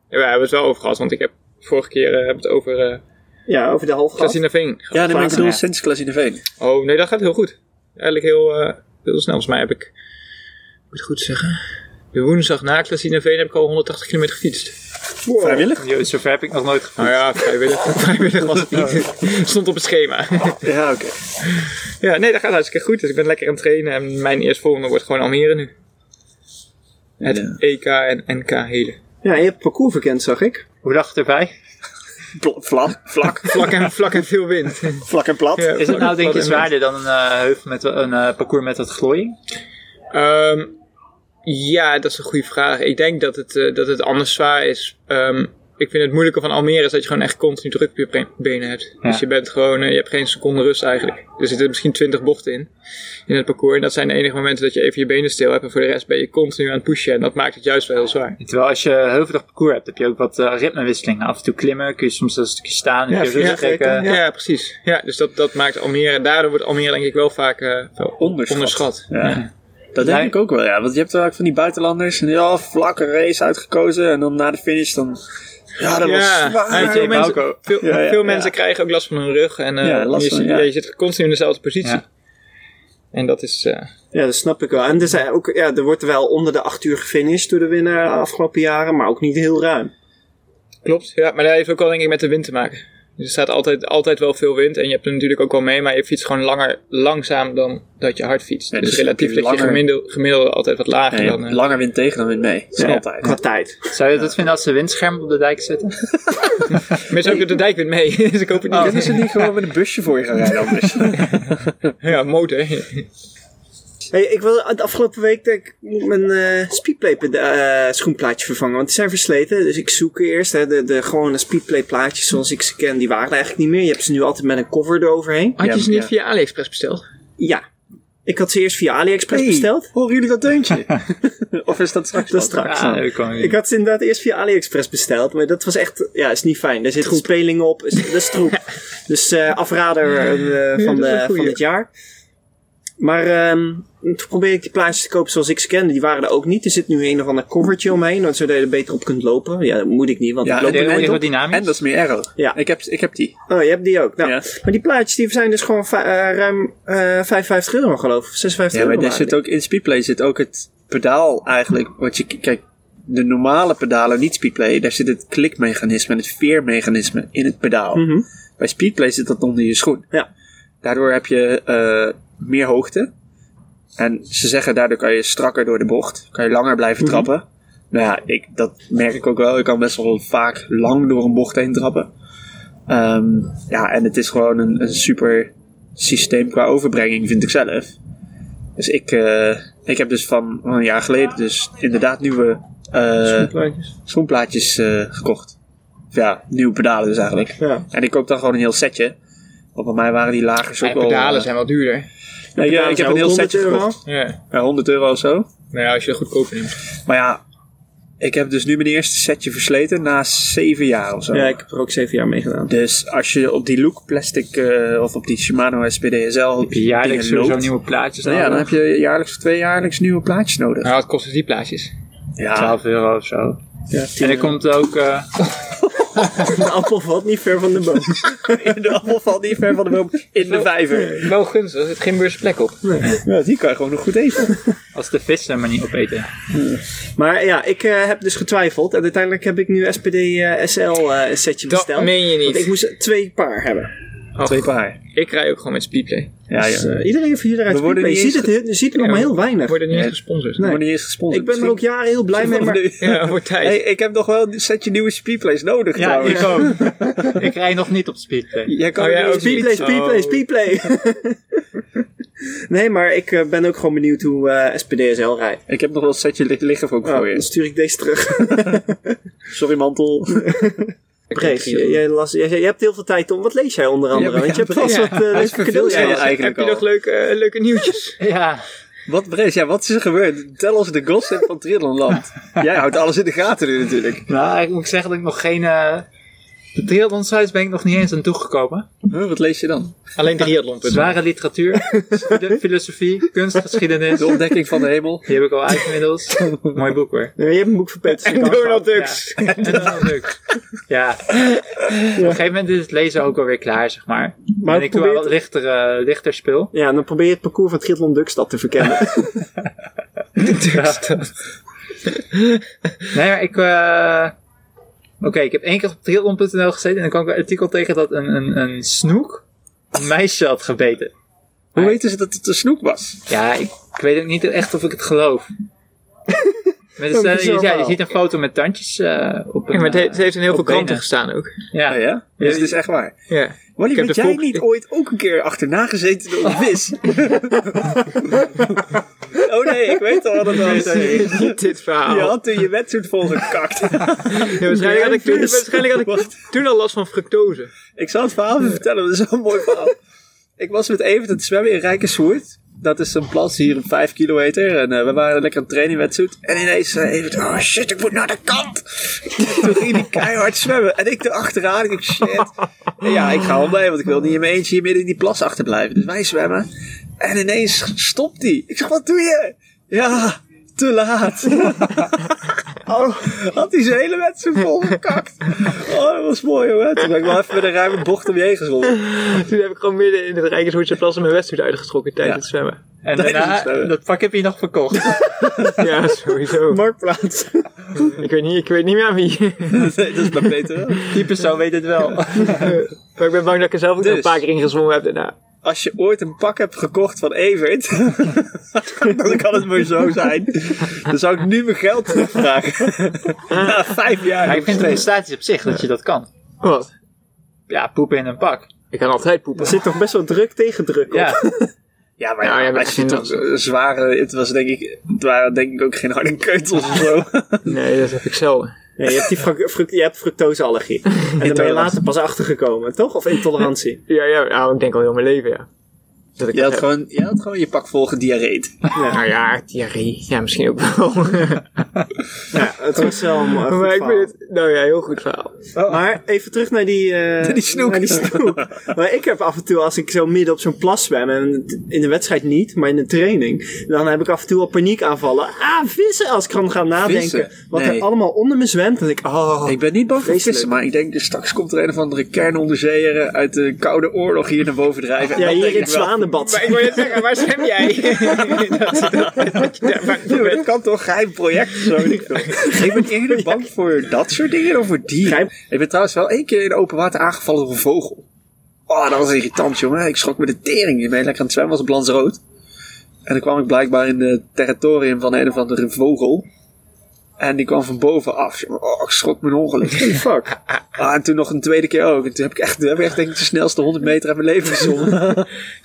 D: Ja, we hebben het wel over gehad, want ik heb vorige keer eh, heb het over eh
B: Ja, over de half gehad.
D: Casino Veen.
A: Ja, nee, maar ik
C: Ja.
A: bedoel sinds Klas in de Veen.
D: Oh nee, dat gaat heel goed. Eigenlijk heel, eh, heel snel. Volgens mij heb ik, moet ik het goed zeggen, de woensdag na Casino Veen heb ik al 180 kilometer gefietst.
A: Vrijwillig?
C: Yo, zover heb ik nog nooit
D: Nou ja, vrijwillig, vrijwillig was het niet. Stond op het schema.
A: Ja, oké.
D: ja, nee, dat gaat hartstikke goed. Dus ik ben lekker aan het trainen en mijn eerstvolgende wordt gewoon Almere nu. Het
A: Ja.
D: EK en NK hele.
B: Ja, je hebt het parcours verkend, zag ik.
C: Hoe lag het erbij?
A: Pla- Vlak, vlak,
D: Vlak en, vlak en veel wind.
A: vlak en plat.
D: Ja,
C: Is
D: vlak
C: het nou denk
D: en plat
C: je
D: en wind.
C: zwaarder dan een, eh, heuvel met, wa- een eh, parcours met wat glooiing?
D: Ehm, ja, dat is een goede vraag. Ik denk dat het, eh, dat het anders zwaar is. Ehm, ik vind het moeilijke van Almere is dat je gewoon echt continu druk op je pre- benen hebt.
C: Ja.
D: Dus je bent gewoon, eh, je hebt geen seconde rust eigenlijk. Er zitten misschien twintig bochten in, in het parcours. En dat zijn de enige momenten dat je even je benen stil hebt. En voor de rest ben je continu aan het pushen. En dat maakt het juist wel heel zwaar.
C: Terwijl als je heuvelig parcours hebt, heb je ook wat eh, ritmewisselingen. Af en toe klimmen, kun je soms een stukje staan, een
B: Ja,
C: keer rust
B: ja, zeker,
C: trekken.
D: Ja, precies. Ja, dus dat, dat maakt Almere, daardoor wordt Almere denk ik wel vaak eh,
A: Onderschat.
D: onderschat.
A: Ja. Dat denk
C: Nee.
A: ik ook wel, ja. Want je hebt vaak van die buitenlanders een heel vlakke race uitgekozen. En dan na de finish dan... Ja, dat was
D: en
A: zwaar.
D: veel mensen,
C: Bauko.
D: veel,
A: Ja, ja,
D: veel
A: ja.
D: mensen krijgen ook last van hun rug. En eh,
A: Ja, last
D: je,
A: van-
D: zit-
A: ja.
D: je zit continu in dezelfde positie.
C: Ja.
D: En dat is... eh,
B: Ja, dat snap ik wel. En er, zijn ook, ja, er wordt wel onder de 8 uur gefinished door de winnaar de afgelopen jaren, maar ook niet heel ruim.
D: Klopt, ja, maar dat heeft ook wel denk ik met de wind te maken. Dus er staat altijd, altijd wel veel wind en je hebt er natuurlijk ook wel mee, maar je fietst gewoon langer langzaam dan dat je hard fietst.
A: Ja,
D: dus,
A: dus
D: relatief
A: je
D: ligt je
A: langer-
D: gemiddelde, gemiddelde altijd wat lager
A: Nee,
D: dan... eh,
A: langer wint tegen dan wint mee. Dat is
B: Ja.
A: altijd.
B: Qua tijd.
C: Zou je dat vinden als ze windschermen op de dijk zetten?
D: Mensen ook dat de dijkwind mee, dus ik hoop het
A: Kunnen
D: niet.
A: ze niet gewoon met een busje voor je gaan rijden anders?
D: Ja, motor.
B: Hey, ik wil de afgelopen week dat ik moet mijn eh, speedplay peda- eh, schoenplaatje vervangen, want die zijn versleten. Dus ik zoek eerst hè, de, de gewone speedplay plaatjes zoals ik ze ken, die waren er eigenlijk niet meer. Je hebt ze nu altijd met een cover eroverheen.
D: Had je
A: Ja,
D: ze
A: ja.
D: niet via AliExpress besteld?
B: Ja, ik had ze eerst via AliExpress besteld.
A: horen jullie dat deuntje? of is dat straks?
B: Dat is straks.
C: Ah, dat kan
B: Ik
C: niet.
B: had ze inderdaad eerst via AliExpress besteld, maar dat was echt, ja, is niet fijn. Daar zitten spelingen op, is, dat is troep. dus eh, afrader eh,
D: Ja,
B: van,
D: dat is een
B: de,
D: goeie.
B: van het jaar. Maar ehm, toen probeerde ik die plaatjes te kopen zoals ik ze kende. Die waren er ook niet. Er zit nu een of ander covertje omheen, zodat je er beter op kunt lopen. Ja, dat moet ik niet, want
A: Ja,
B: ik
C: Loop
B: loop
C: je
B: er
C: heel
B: nooit op.
C: aerodynamisch?
A: En dat is meer arrow.
B: Ja.
A: Ik heb, ik heb die.
B: Oh, je hebt die ook. Nou,
A: Ja.
B: Maar die plaatjes die zijn dus gewoon va- eh, ruim eh 55 euro geloof ik. 56
A: Ja, maar
B: euro.
A: daar
B: waren
A: zit ook, in Speedplay zit ook het pedaal eigenlijk. Wat je, kijk, de normale pedalen, niet Speedplay, daar zit het klikmechanisme en het veermechanisme in het pedaal.
B: die. Mhm.
A: Bij Speedplay zit dat onder je schoen.
B: Ja.
A: Daardoor heb je eh, meer hoogte. En ze zeggen daardoor kan je strakker door de bocht. Kan je langer blijven
B: Mhm.
A: trappen. Nou ja, ik, dat merk ik ook wel. Ik kan best wel vaak lang door een bocht heen trappen. Ehm, ja, en het is gewoon een, een super systeem qua overbrenging, vind ik zelf. Dus ik, eh, ik heb dus van van een jaar geleden dus inderdaad nieuwe eh
B: Plaatjes.
A: schoenplaatjes eh, gekocht. Of Ja, nieuwe pedalen dus eigenlijk.
B: Ja.
A: En ik koop dan gewoon een heel setje. Want bij mij waren die lagers ook
D: Mijn
A: wel...
D: pedalen
A: eh,
D: zijn wel duurder.
A: nee, ik- ik heb een heel setje
B: euro.
A: gekocht.
D: Ja.
A: Ja, 100 euro of zo.
D: Nou ja, als je dat goedkoper neemt.
A: Maar ja, ik heb dus nu mijn eerste setje versleten na 7 jaar of zo.
B: Ja, ik heb er ook 7 jaar mee gedaan.
A: Dus als je op die Look Plastic eh, of op die Shimano SPDSL
C: Heb je jaarlijks
A: dingen
C: sowieso
A: loopt,
C: nieuwe plaatjes
A: nou ja, dan heb je jaarlijks of tweejaarlijks nieuwe plaatjes nodig.
D: Nou, wat kosten die plaatjes?
A: Ja,
C: 12 euro of zo.
B: Ja,
C: En er komt ook... eh,
B: De appel valt niet ver van de boom.
A: in de appel valt niet ver van de boom. In de vijver.
D: Wel gunstig, er zit geen beursplek op.
A: Ja, die kan je gewoon nog goed eten.
C: als de vissen maar niet opeten.
B: Maar ja, ik eh, heb dus getwijfeld. En uiteindelijk heb ik nu SPD eh, SL eh, een setje
D: Dat
B: besteld.
D: meen je niet.
B: Want ik moest twee paar hebben.
D: Och,
A: Twee paar.
D: ik rij ook gewoon met speedplay.
A: Ja, ja.
B: Dus, eh, iedereen van jullie rijdt
A: We worden
B: Speedway. Je
A: niet
B: ziet het,
A: eens
B: heel- je ziet het nog
D: Ja,
B: maar heel weinig.
D: Worden niet eens
A: Nee.
D: gesponsord.
A: We
B: Nee.
A: worden niet eens gesponsord.
B: Ik ben er ook jaren heel blij mee, maar
D: Ja, wordt tijd.
A: Hey, ik heb nog wel een setje nieuwe speedplays nodig
C: Ja,
A: trouwens.
C: ik ook. ik rij nog niet op speedplay.
A: Jij kan
D: Oh,
A: er
D: jij
A: niet-
D: ook
B: Speedplay, Speedplay,
D: Oh.
B: Speedplay. nee, maar ik eh, ben ook gewoon benieuwd hoe eh SPD SL rijdt.
A: Ik heb nog wel een setje li- liggen ook
B: Nou,
A: voor
B: dan
A: je.
B: stuur ik deze terug.
A: dus- Sorry mantel.
B: Prees, jij, jij las- jij- jij hebt heel veel tijd om. Wat lees jij onder andere?
A: Ja, maar
B: Want je
A: ja,
B: hebt vast
D: ja.
B: wat eh, leuke
A: verveeld,
B: cadeaus.
A: ja, ja.
B: gehad.
A: eigenlijk
D: Heb je nog
A: al.
D: leuke, leuke eh, nieuwtjes?
C: Oh, Ja,
A: Wat, Brees, ja, wat is er gebeurd? Tel ons de gossip van Triathlonland. Jij houdt alles in de gaten nu natuurlijk.
C: Nou, ik moet zeggen dat ik nog geen... eh de triathlon sites ben ik nog niet eens aan toegekomen.
A: Huh, wat lees je dan?
D: Alleen triathlon.
C: Zware literatuur, filo- filosofie, kunstgeschiedenis.
A: De
C: Die
A: ontdekking van de hemel.
C: heb ik al uit inmiddels. Mooi boek hoor.
B: Je hebt een boek van Peter.
D: En Donald Ducks.
C: Ja. En Donald Duck. Ja. Op een gegeven moment is het lezen ook alweer klaar, zeg maar.
B: Maar
C: en ik doe wel wat lichter, eh, lichter speel.
B: Ja, dan probeer je het parcours van Triathlon Dukstad te verkennen.
C: Nee, maar ik... eh, Oké, ik heb één keer op triathlon.nl gezeten en dan kwam ik een artikel tegen dat een, een, een snoek een meisje had gebeten.
A: Hoe weten ze dat het een snoek was?
C: Ja, ik, ik weet ook niet echt of ik het geloof. Met een,
B: Een bizar
C: stel- dus ja, je
B: verhaal.
C: ziet een foto met tandjes eh, op een...
D: Ja, maar het, he-
C: eh,
D: het heeft in heel
C: op
D: veel kranten
C: benen.
D: gestaan ook.
C: Oh ja.
A: Ah, ja? Dus het is echt waar.
D: Ja.
A: Wally,
D: Ik heb
A: bent
D: de
A: jij
D: volk-
A: niet ooit ook een keer achterna gezeten door een vis? oh nee, ik weet al wat het was.
D: Dit verhaal.
A: Je
D: Ja.
A: had toen je wetsuit volgekakt.
D: waarschijnlijk, had ik toen,
A: Vis.
D: waarschijnlijk had ik toen al last van fructose.
A: Ik zal het verhaal even vertellen, want het is wel een mooi verhaal. Ik was met Evert aan het zwemmen in Rijkerswoerd. Dat is een plas hier op 5 kilometer. En eh, we waren lekker aan het trainen in wetsuit. En ineens eh Evert, oh shit, ik moet naar de kant. Toen ging hij keihard zwemmen. En ik erachteraan, ik denk shit. En ja, ik ga wel mee, want ik wil niet in mijn eentje hier midden in die plas achterblijven. Dus wij zwemmen. En ineens stopt hij. Ik zeg, wat doe je? Ja, te laat. Oh, had hij zijn hele wedstrijd volgekakt. Oh, dat was mooi hoor. Toen ben ik wel even met een ruime bocht om je heen gezwommen.
D: Toen heb ik gewoon midden in het Rijkershoedse plas mijn wedstrijd uitgetrokken tijdens
A: Ja.
D: het zwemmen.
C: En
A: Tijdens
C: daarna,
A: het zwemmen.
C: dat pak heb je nog verkocht.
D: Ja, sowieso.
B: Marktplaats.
D: Ik weet niet, ik weet niet meer aan wie.
A: Nee, dat is bij Peter wel.
C: Die persoon weet het wel.
D: Maar ik ben bang dat ik er zelf ook nog
A: Dus.
D: een paar keer in gezwommen heb daarna.
A: Als je ooit een pak hebt gekocht van Evert, dan kan het maar zo zijn. Dan zou ik nu mijn geld terugvragen. Na vijf jaar.
C: Maar ik vind het een prestatie op zich dat je dat kan.
D: Wat?
C: Ja, poepen in een pak.
D: Ik kan altijd poepen.
B: Er zit toch best wel druk tegen druk op.
C: Ja,
A: Ja, maar
D: Nou, ja, maar
A: als je
D: ik
A: toch
D: vind
A: z- zware... Het, was denk ik, het waren denk ik ook geen harde keutels of zo.
D: Nee, dat heb ik zelden.
B: Ja, je hebt, die fruc- fruct- je hebt fructoseallergie. En daar ben je later pas achtergekomen, toch? Of intolerantie.
D: Ja, ja, nou, ik denk al heel mijn leven, ja. Dat ik
A: Je
D: dat
A: had
D: heb.
A: gewoon je, had gewoon je pak vol gediarreed.
D: Nou ja, diarree. Ja, misschien ook wel.
B: Ja, het was wel een eh, goed
D: maar ik
B: verhaal.
D: vind het, nou ja, heel goed verhaal.
B: Maar even terug naar die, eh,
A: die snoek.
B: naar die snoek. maar ik heb af en toe, als ik zo midden op zo'n plas zwem, en in de wedstrijd niet, maar in de training, dan heb ik af en toe al paniekaanvallen. Ah, vissen! Als ik dan ga nadenken
A: Vissen?
B: wat
A: Nee.
B: er allemaal onder me zwemt, dan denk ik, oh.
A: Ik ben niet bang voor
B: Vreselijk.
A: vissen, maar ik denk dus straks komt er een of andere kernonderzeeër eh, uit de Koude Oorlog hier naar boven drijven. En
B: ja,
A: dat
B: hier
A: denk
B: in
A: ik
B: het
A: wel.
B: Zwanenbad.
D: Maar ik wil je zeggen, waar zwem jij? dat, dat, dat je daar bang voor
A: Ja, maar
D: bent.
A: dat kan toch geheim project of zo? weet ik veel. ik ben eerder bang voor dat soort dingen dan voor dieren.
B: Geheim-
A: Ik ben trouwens wel één keer in open water aangevallen door een vogel. Oh, dat was irritant, jongen. Ik schrok me de tering. Ik ben lekker aan het zwemmen, was op Lanzarote. En dan kwam ik blijkbaar in het territorium van een of andere vogel. En die kwam van boven af. Oh, ik schrok me een ongeluk. Holy fuck. Ah, en toen nog een tweede keer ook. En toen heb ik echt, toen heb ik echt denk ik, de snelste 100 meter uit mijn leven gezongen.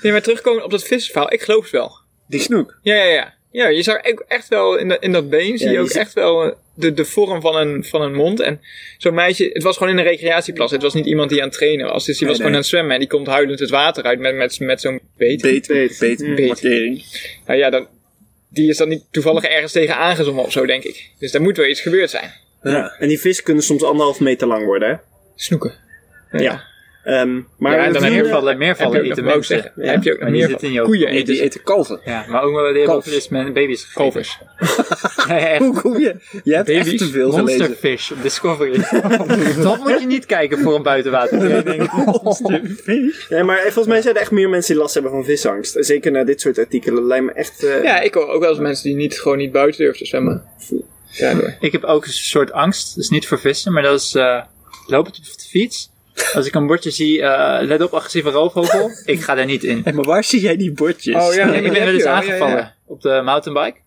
D: Nee, maar terugkomen op dat vissenverhaal. Ik geloof het wel.
A: Die snoek.
D: Ja, ja, ja. Ja, je zag ook echt wel in, dat- in dat been, zie je
B: die
D: ook
B: is-
D: echt wel eh, de, de vorm van een, van een mond. En zo'n meisje, het was gewoon in een recreatieplas. Het was niet iemand die aan het trainen was. Dus die
A: Nee,
D: was gewoon
A: nee.
D: aan het zwemmen en die komt huilend het water uit met, met, met zo'n beet.
A: Beet, beet, beet. Markering.
D: Nou ja, dan, die is dan niet toevallig ergens tegen aangezommen of zo, denk ik. Dus daar moet wel iets gebeurd zijn.
A: Ja.
B: En die vissen kunnen soms anderhalf meter lang worden, hè?
D: Snoeken.
B: Ja. Ehm, maar
D: Ja, en
B: dat
D: dan
B: wilde-
C: meervallen, meervallen
D: heb je ook
C: eten
D: nog, wou ik
C: mensen.
D: zeggen, heb je ook
C: Maar
D: nog
C: die
D: meer
C: zitten
D: van-
C: in je
D: koeien
A: Nee,
D: eten
A: die
D: ze.
A: eten kalven.
C: Ja, maar ook wel de
A: Kalf.
C: dus met baby's gegeten.
D: Kalvers.
C: Ja, echt.
A: Hoe kom je? Je hebt echt
D: Baby's,
A: te veel gelezen.
C: Monsterfish op Discovery. dat moet je niet kijken voor een buitenwatertraining.
B: Nee, maar volgens mij zijn er echt meer mensen die last hebben van visangst. Zeker na dit soort artikelen lijkt me echt... eh,
D: Ja, ik hoor ook wel eens mensen die niet, gewoon niet buiten durven te zwemmen. Ja, door.
C: ik heb ook een soort angst. Dus niet voor vissen, maar dat is eh, lopen op de fiets. Als ik een bordje zie, eh, let op agressieve roofvogel. ik ga daar niet in.
A: Hé, maar waar zie jij die bordjes?
D: Oh, ja.
C: Ja, ik ben wel eens
D: Ja, ja, ja.
C: aangevallen op de mountainbike.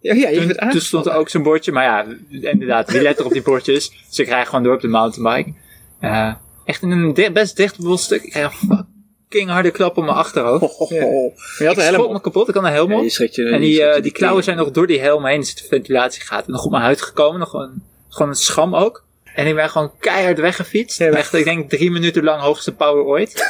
D: Ja, ja, je
C: Toen,
D: bent aan.
C: toen stond er ook zo'n bordje, maar ja, inderdaad, wie let er op die bordjes? Dus ik rijd gewoon door op de mountainbike. Eh, echt in een di- best dicht bebost stuk. Ik krijg een fucking harde klap op mijn achterhoofd.
A: Ho, ho, ho.
D: Oh, Je had
C: Ik
D: een helm
C: schrok
D: op.
C: me kapot, ik had een helm
A: Ja,
C: op.
A: je schrikt je-
C: en
A: je
C: die,
A: schrikt
C: eh,
A: je
C: die dus
A: de
C: klauwen
A: tering.
C: zijn nog door die helm heen, er zit ventilatiegaten. Nog op mijn huid gekomen, nog een, gewoon een scham ook. En ik ben gewoon keihard weggefietst.
D: Ja, maar-
C: Echt, ik denk drie minuten lang hoogste power ooit.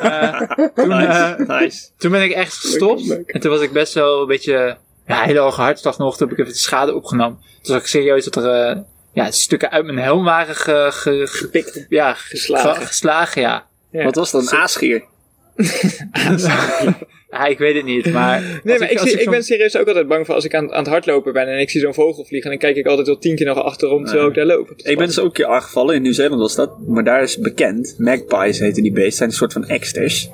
C: Eh, toen, eh,
A: Nice.
C: toen ben ik echt gestopt.
D: Leuk, leuk.
C: En toen was ik best wel een beetje... Ja, hele hoge hartslag nog. Toen heb ik even de schade opgenomen. Toen zag ik serieus dat er eh, ja, stukken uit mijn helm waren ge, ge- ge-
B: Gepikt.
C: ja, ge-
D: Geslagen.
C: ge- geslagen, ja.
D: Ja.
A: Wat was dat? Een aasgier?
C: ja. Ik weet het niet, maar... als
D: Nee, maar ik,
C: als
D: zie, ik
C: zo'n-
D: ben serieus ook altijd bang voor als ik aan, aan het hardlopen ben en ik zie zo'n vogel vliegen. Dan kijk ik altijd wel tien keer nog achterom terwijl ik daar loop.
A: Ik ben dus ook een keer aangevallen. In Nieuw-Zeeland was dat. Maar daar is bekend. Magpies heten die beesten. zijn een soort van eksters.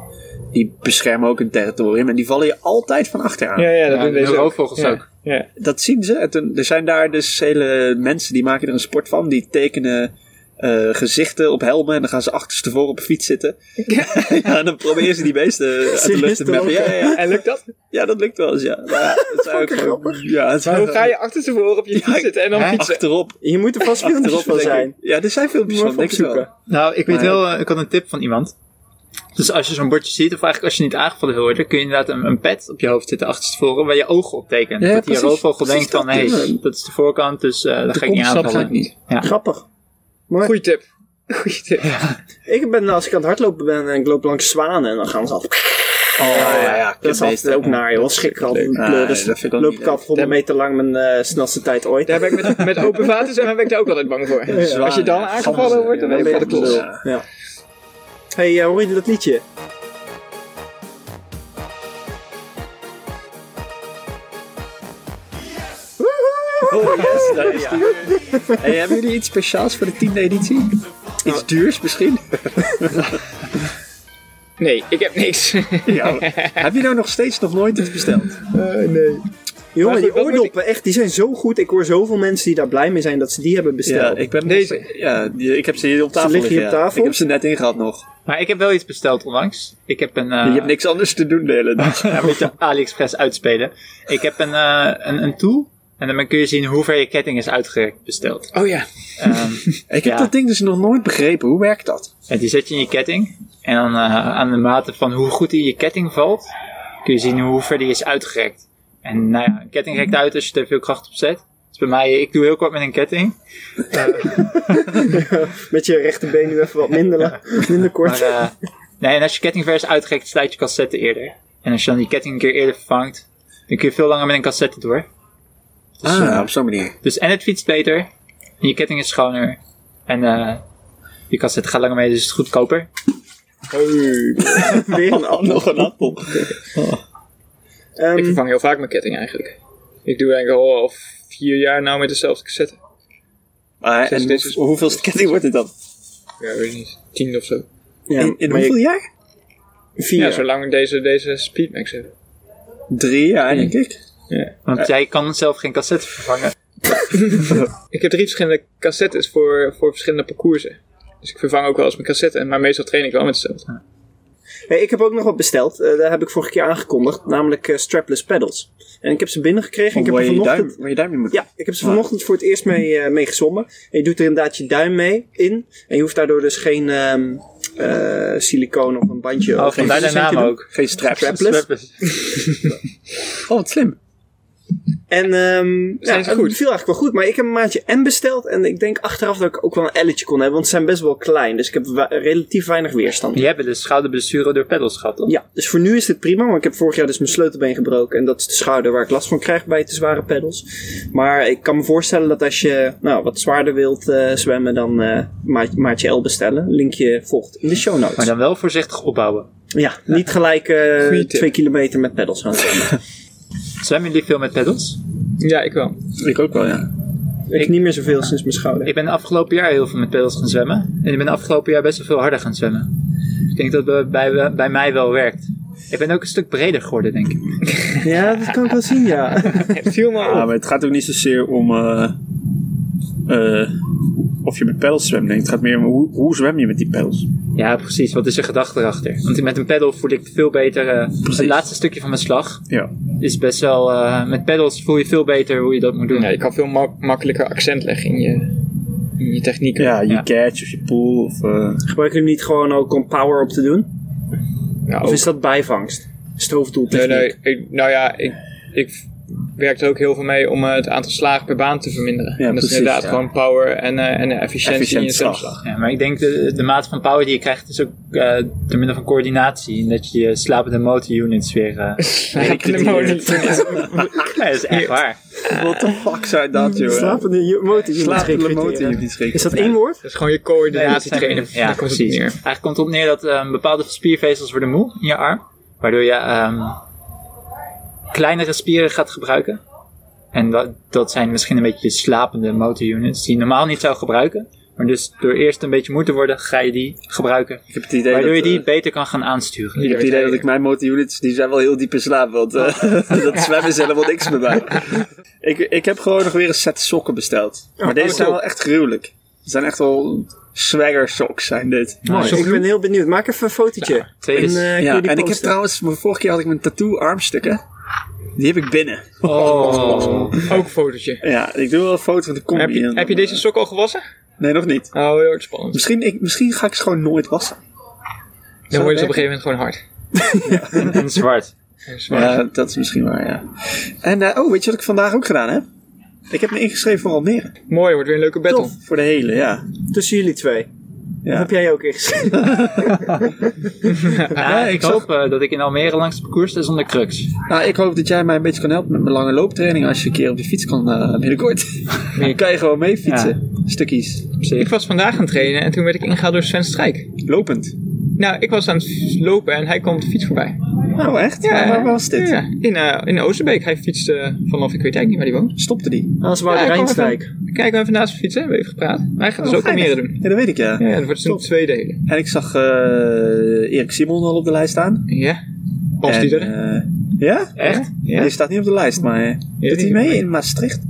A: Die beschermen ook een territorium. En die vallen je altijd van achteraan.
D: Ja, ja, dat
C: Ja,
D: doen
C: de
D: deze
C: roofvogels
D: Ja,
C: ook.
D: Ja.
A: Dat zien ze. En toen- er zijn daar dus hele mensen die maken er een sport van. Die tekenen eh, gezichten op helmen. En dan gaan ze achterstevoren op een fiets zitten. ja, en dan proberen ze die beesten uit de lucht
B: Serieus,
A: te meppen. Ja, ja, ja.
D: En lukt dat?
A: Ja, dat lukt wel eens, ja. Maar ja, het zijn ook gewoon, ja, het
D: Maar
A: zijn
D: hoe ga je achterstevoren op je
A: Ja,
D: fiets zitten en dan
C: hè?
D: fietsen?
A: achterop.
B: Je moet er vast filmpjes
A: Achterop
B: van
A: denk ik.
B: zijn.
A: Ja, er zijn filmpjes
B: Moet
A: van,
B: even
A: denk ik wel.
B: opzoeken.
C: Nou, ik weet
A: Maar-
C: wel, eh, ik had een tip van iemand. Dus als je zo'n bordje ziet, of eigenlijk als je niet aangevallen wil worden, kun je inderdaad een, een pet op je hoofd zitten achterstevoren waar je ogen op tekent.
A: Ja,
C: dat die
A: precies.
C: roofvogel
A: Precies
C: denkt van, hé,
A: dat,
C: hey, dat is de voorkant, dus eh daar ga ik niet
A: Kom, snap
C: aanvallen.
A: ik niet.
B: Grappig.
D: Goeie tip. Goeie tip.
B: Ik ben, als ik aan het hardlopen ben en ik loop langs zwanen en dan gaan ze al.
A: Oh, ja, ja. ja
B: Dat is altijd ook naar, joh. Schrik ik altijd.
A: leuk.
B: kleur,
A: Ah,
B: dus
A: dat vind ik ook
B: loop
A: niet
B: ik af 100 meter lang mijn eh, snelste tijd ooit.
D: Daar ben ik met, met open vaten zijn, ben ik daar ook altijd bang voor.
A: Zwaar,
D: Als je dan
A: ja.
D: aangevallen
A: Ganzen,
D: wordt, dan
A: ja,
D: ben je van de
A: ben je
D: klos.
A: op de
B: Ja. hey, eh, hoor je dat liedje?
A: Oh, yes, daar is die. Hey, hebben jullie iets speciaals voor de tiende editie? Iets duurs misschien?
D: Nee, ik heb niks.
A: Ja. Heb je nou nog steeds nog nooit iets besteld?
D: nee.
B: Jongen,
D: Maar goed,
B: die
D: wat moet
B: oordoppen, echt, die zijn zo goed. Ik hoor zoveel mensen die daar blij mee zijn dat ze die hebben
A: Ja,
B: besteld.
A: ik ben
D: Deze.
A: Ja, die- ik heb ze hier op tafel
B: liggen hier
A: liggen,
B: op
A: ja.
B: tafel?
A: Ik heb ze net ingehad nog.
C: Maar ik heb wel iets besteld onlangs. Ik heb een... eh,
A: Je hebt niks anders te doen de hele dag.
C: Ja, moet je AliExpress uitspelen. Ik heb een, eh, een, een tool en dan kun je zien hoe ver je ketting is uitgerekt besteld.
D: Oh ja.
C: Ehm,
A: Ik heb
C: Ja.
A: dat ding dus nog nooit begrepen. Hoe werkt dat?
C: ja, die zet je in je ketting en dan eh, aan de mate van hoe goed die in je ketting valt, kun je zien hoe ver die is uitgerekt. En nou ja, een ketting rekt uit als je er veel kracht op zet. Dus bij mij, ik doe heel kort met een ketting.
B: Met je rechterbeen nu even wat minder, la- minder kort.
C: Maar, eh, nee, en als je ketting ver is uitgerekt, slijt je cassette eerder. En als je dan die ketting een keer eerder vervangt, dan kun je veel langer met een cassette door. Dus, eh,
A: op zo'n manier.
C: Dus en het fietst beter. En je ketting is schoner. En eh je cassette gaat langer mee, dus het is goedkoper.
B: Weer een ander.
A: Nog een appel.
D: Ik
B: Ehm,
D: vervang heel vaak mijn ketting eigenlijk. Ik doe denk ik al vier jaar nou met dezelfde cassette.
A: Maar,
D: Zes
A: en
D: keer-
A: hoe, hoeveelste ketting wordt het dan?
D: Ja, weet ik niet. Tien of zo.
B: ja,
A: In, in
B: maar je-
A: hoeveel jaar?
B: Vier.
D: Ja, zolang ik deze, deze Speedmax heb.
A: Drie jaar, denk ik.
C: Want jij kan zelf geen cassette vervangen.
D: Ik heb drie verschillende cassettes voor, voor verschillende parcoursen. Dus ik vervang ook wel eens mijn cassette, maar meestal train ik wel met dezelfde.
B: Hey, ik heb ook nog wat besteld. Eh, daar heb ik vorige keer aangekondigd. Namelijk eh, strapless pedals. En ik heb ze binnengekregen. en ik heb
A: Oh, waar,
B: er
A: je je
B: vanochtend...
A: duim, Ah. waar je duim in moet.
B: Ja, ik heb ze vanochtend voor het eerst mee, eh, mee gezwommen. En je doet er inderdaad je duim mee in. En je hoeft daardoor dus geen ehm, eh, siliconen of een bandje.
C: Oh,
B: of geen
C: vandaar de
B: toetsen in te
C: naam
B: doen.
C: ook.
A: Geen straps.
C: Dus
B: Strapless.
A: Oh, wat slim.
B: En ehm ja,
D: ze
B: het
D: goed?
B: viel eigenlijk wel goed. Maar ik heb een maatje M besteld. En ik denk achteraf dat ik ook wel een elletje kon hebben. Want ze zijn best wel klein. Dus ik heb wa- relatief weinig weerstand.
C: Je hebt dus schouderblessure door pedals gehad, toch?
B: Ja, dus voor nu is dit prima, maar ik heb vorig jaar dus mijn sleutelbeen gebroken. En dat is de schouder waar ik last van krijg bij te zware pedals. Maar ik kan me voorstellen dat als je nou, wat zwaarder wilt eh, zwemmen, dan eh maat- maatje L bestellen. Linkje volgt in de show
C: Maar
B: notes.
C: dan wel voorzichtig opbouwen.
B: Ja, niet gelijk eh,
D: Goeie tip.
B: twee kilometer met pedals gaan zwemmen.
C: Zwemmen jullie veel met pedals?
D: Ja, ik wel.
A: Ik ook wel, ja.
B: ik niet meer zoveel sinds mijn schouder.
C: Ik ben afgelopen jaar heel veel met pedals gaan zwemmen. En ik ben afgelopen jaar best wel veel harder gaan zwemmen. Ik denk dat dat bij, bij mij wel werkt. Ik ben ook een stuk breder geworden, denk ik.
B: Ja, dat kan ik wel zien, ja.
D: Het viel me
A: Ah,
D: op.
A: maar het gaat ook niet zozeer om eh, eh, of je met pedals zwemt. denk ik. Het gaat meer om hoe, hoe zwem je met die pedals.
C: Ja, precies. Wat is de gedachte erachter? Want met een pedal voel ik veel beter... eh, het laatste stukje van mijn slag
A: Ja.
C: is best wel. eh, met pedals voel je veel beter hoe je dat moet doen.
D: Ja, je kan veel mak- makkelijker accent leggen in je, in je techniek.
A: Ja, je
C: Ja.
A: catch of je pool. Of, eh,
B: Gebruik je hem niet gewoon ook om power op te doen?
D: Nou,
B: Of is dat bijvangst? Stroofdoeltechniek?
D: nee, nee, ik- nou ja, ik, ik werkt er ook heel veel mee om eh, het aantal slagen per baan te verminderen.
A: Ja,
D: en dat is
A: precies,
D: inderdaad
A: ja.
D: gewoon power en, eh, en efficiëntie
A: Efficiënt
D: in je
A: slag.
D: stemslag.
C: Ja, maar ik denk de, de mate van power die je krijgt is ook eh door middel van coördinatie. En dat je je slapende motor units weer... eh, nee, dat is echt waar.
A: What the fuck zijn
B: Mm,
A: dat, joh?
B: Slapende motor.
A: Slapende motor niet schrikken.
B: Is dat één woord?
D: Dat is gewoon je coördinatie trainen.
C: Ja,
D: Daar komt het op
C: precies.
D: neer.
C: Eigenlijk komt het op neer dat ehm, bepaalde spiervezels worden moe in je arm. Waardoor je ehm, kleinere spieren gaat gebruiken. En dat, dat zijn misschien een beetje je slapende motor units die je normaal niet zou gebruiken. Maar dus door eerst een beetje moe te worden, ga je die gebruiken.
A: Ik heb het idee
C: Waardoor
A: dat,
C: je die
A: eh,
C: beter kan gaan aansturen.
A: ik heb het idee dat ik mijn motor units, die zijn wel heel diep in slaap, want eh,
B: Oh.
A: dat zwemmen is helemaal niks meer bij. Ik, ik heb gewoon nog weer een set sokken besteld. Maar deze
B: oh,
A: zijn
B: cool.
A: wel echt gruwelijk. Het zijn echt wel swagger socks, zijn dit.
C: Mooi.
B: Dus Ik ben heel benieuwd. Maak even een fotootje.
C: Tweede is-
B: En, eh, kun
A: Ja,
B: je die
A: en ik heb
B: posten?
A: trouwens, mijn vorige keer had ik mijn tattoo armstukken. Die heb ik binnen.
C: Oh.
D: Ook een fotootje.
A: Ja, ik doe wel een foto van de combi.
D: Heb je,
A: en-
D: heb je deze sok al gewassen?
A: Nee, nog niet.
D: Oh, heel erg spannend.
A: Misschien, ik, misschien ga ik ze gewoon nooit wassen.
D: Dan word je dus op een gegeven moment gewoon hard.
C: En, en zwart.
D: Ja.
A: Ja, dat is misschien waar, ja. En, eh, oh, weet je wat ik vandaag ook gedaan heb? Ik heb me ingeschreven voor Almere.
D: Mooi, wordt weer een leuke battle.
B: Tof.
A: Voor de hele, ja.
B: Tussen jullie twee.
A: Ja.
B: Heb jij ook ingeschreven?
C: Ja, ik hoop eh, dat ik in Almere langs het parcours sta zonder crux.
A: Nou, ik hoop dat jij mij een beetje kan helpen met mijn lange looptraining als je een keer op de fiets kan eh, binnenkort. Dan kan je gewoon mee fietsen. Stukjes.
D: Ik was vandaag aan het trainen en toen werd ik ingehaald door Sven Strijk.
A: Lopend.
D: Nou, ik was aan het lopen en hij kwam op de fiets voorbij.
A: Oh, echt? Ja, waar was dit?
D: Ja, in, eh, in Oosterbeek. Hij fietste vanaf, ik weet eigenlijk niet waar hij woont.
A: Stopte die?
B: Als
D: Ja,
B: Wouter
D: ik kom
B: Rijnstijk.
D: Kijk, we hebben naast hem fietsen, we hebben even gepraat. Maar hij gaat dus ook
A: Oh, geinig.
D: Almere doen.
A: Ja, dat weet ik, ja.
D: Ja, dat wordt dus een tweedelen.
A: En ik zag eh, Erik Simon al op de lijst staan.
D: Ja, als
A: En,
D: die er.
A: eh, ja?
C: Echt?
D: Ja.
A: Die staat niet op de lijst, maar eh, doet hij
D: die-
A: mee in Maastricht?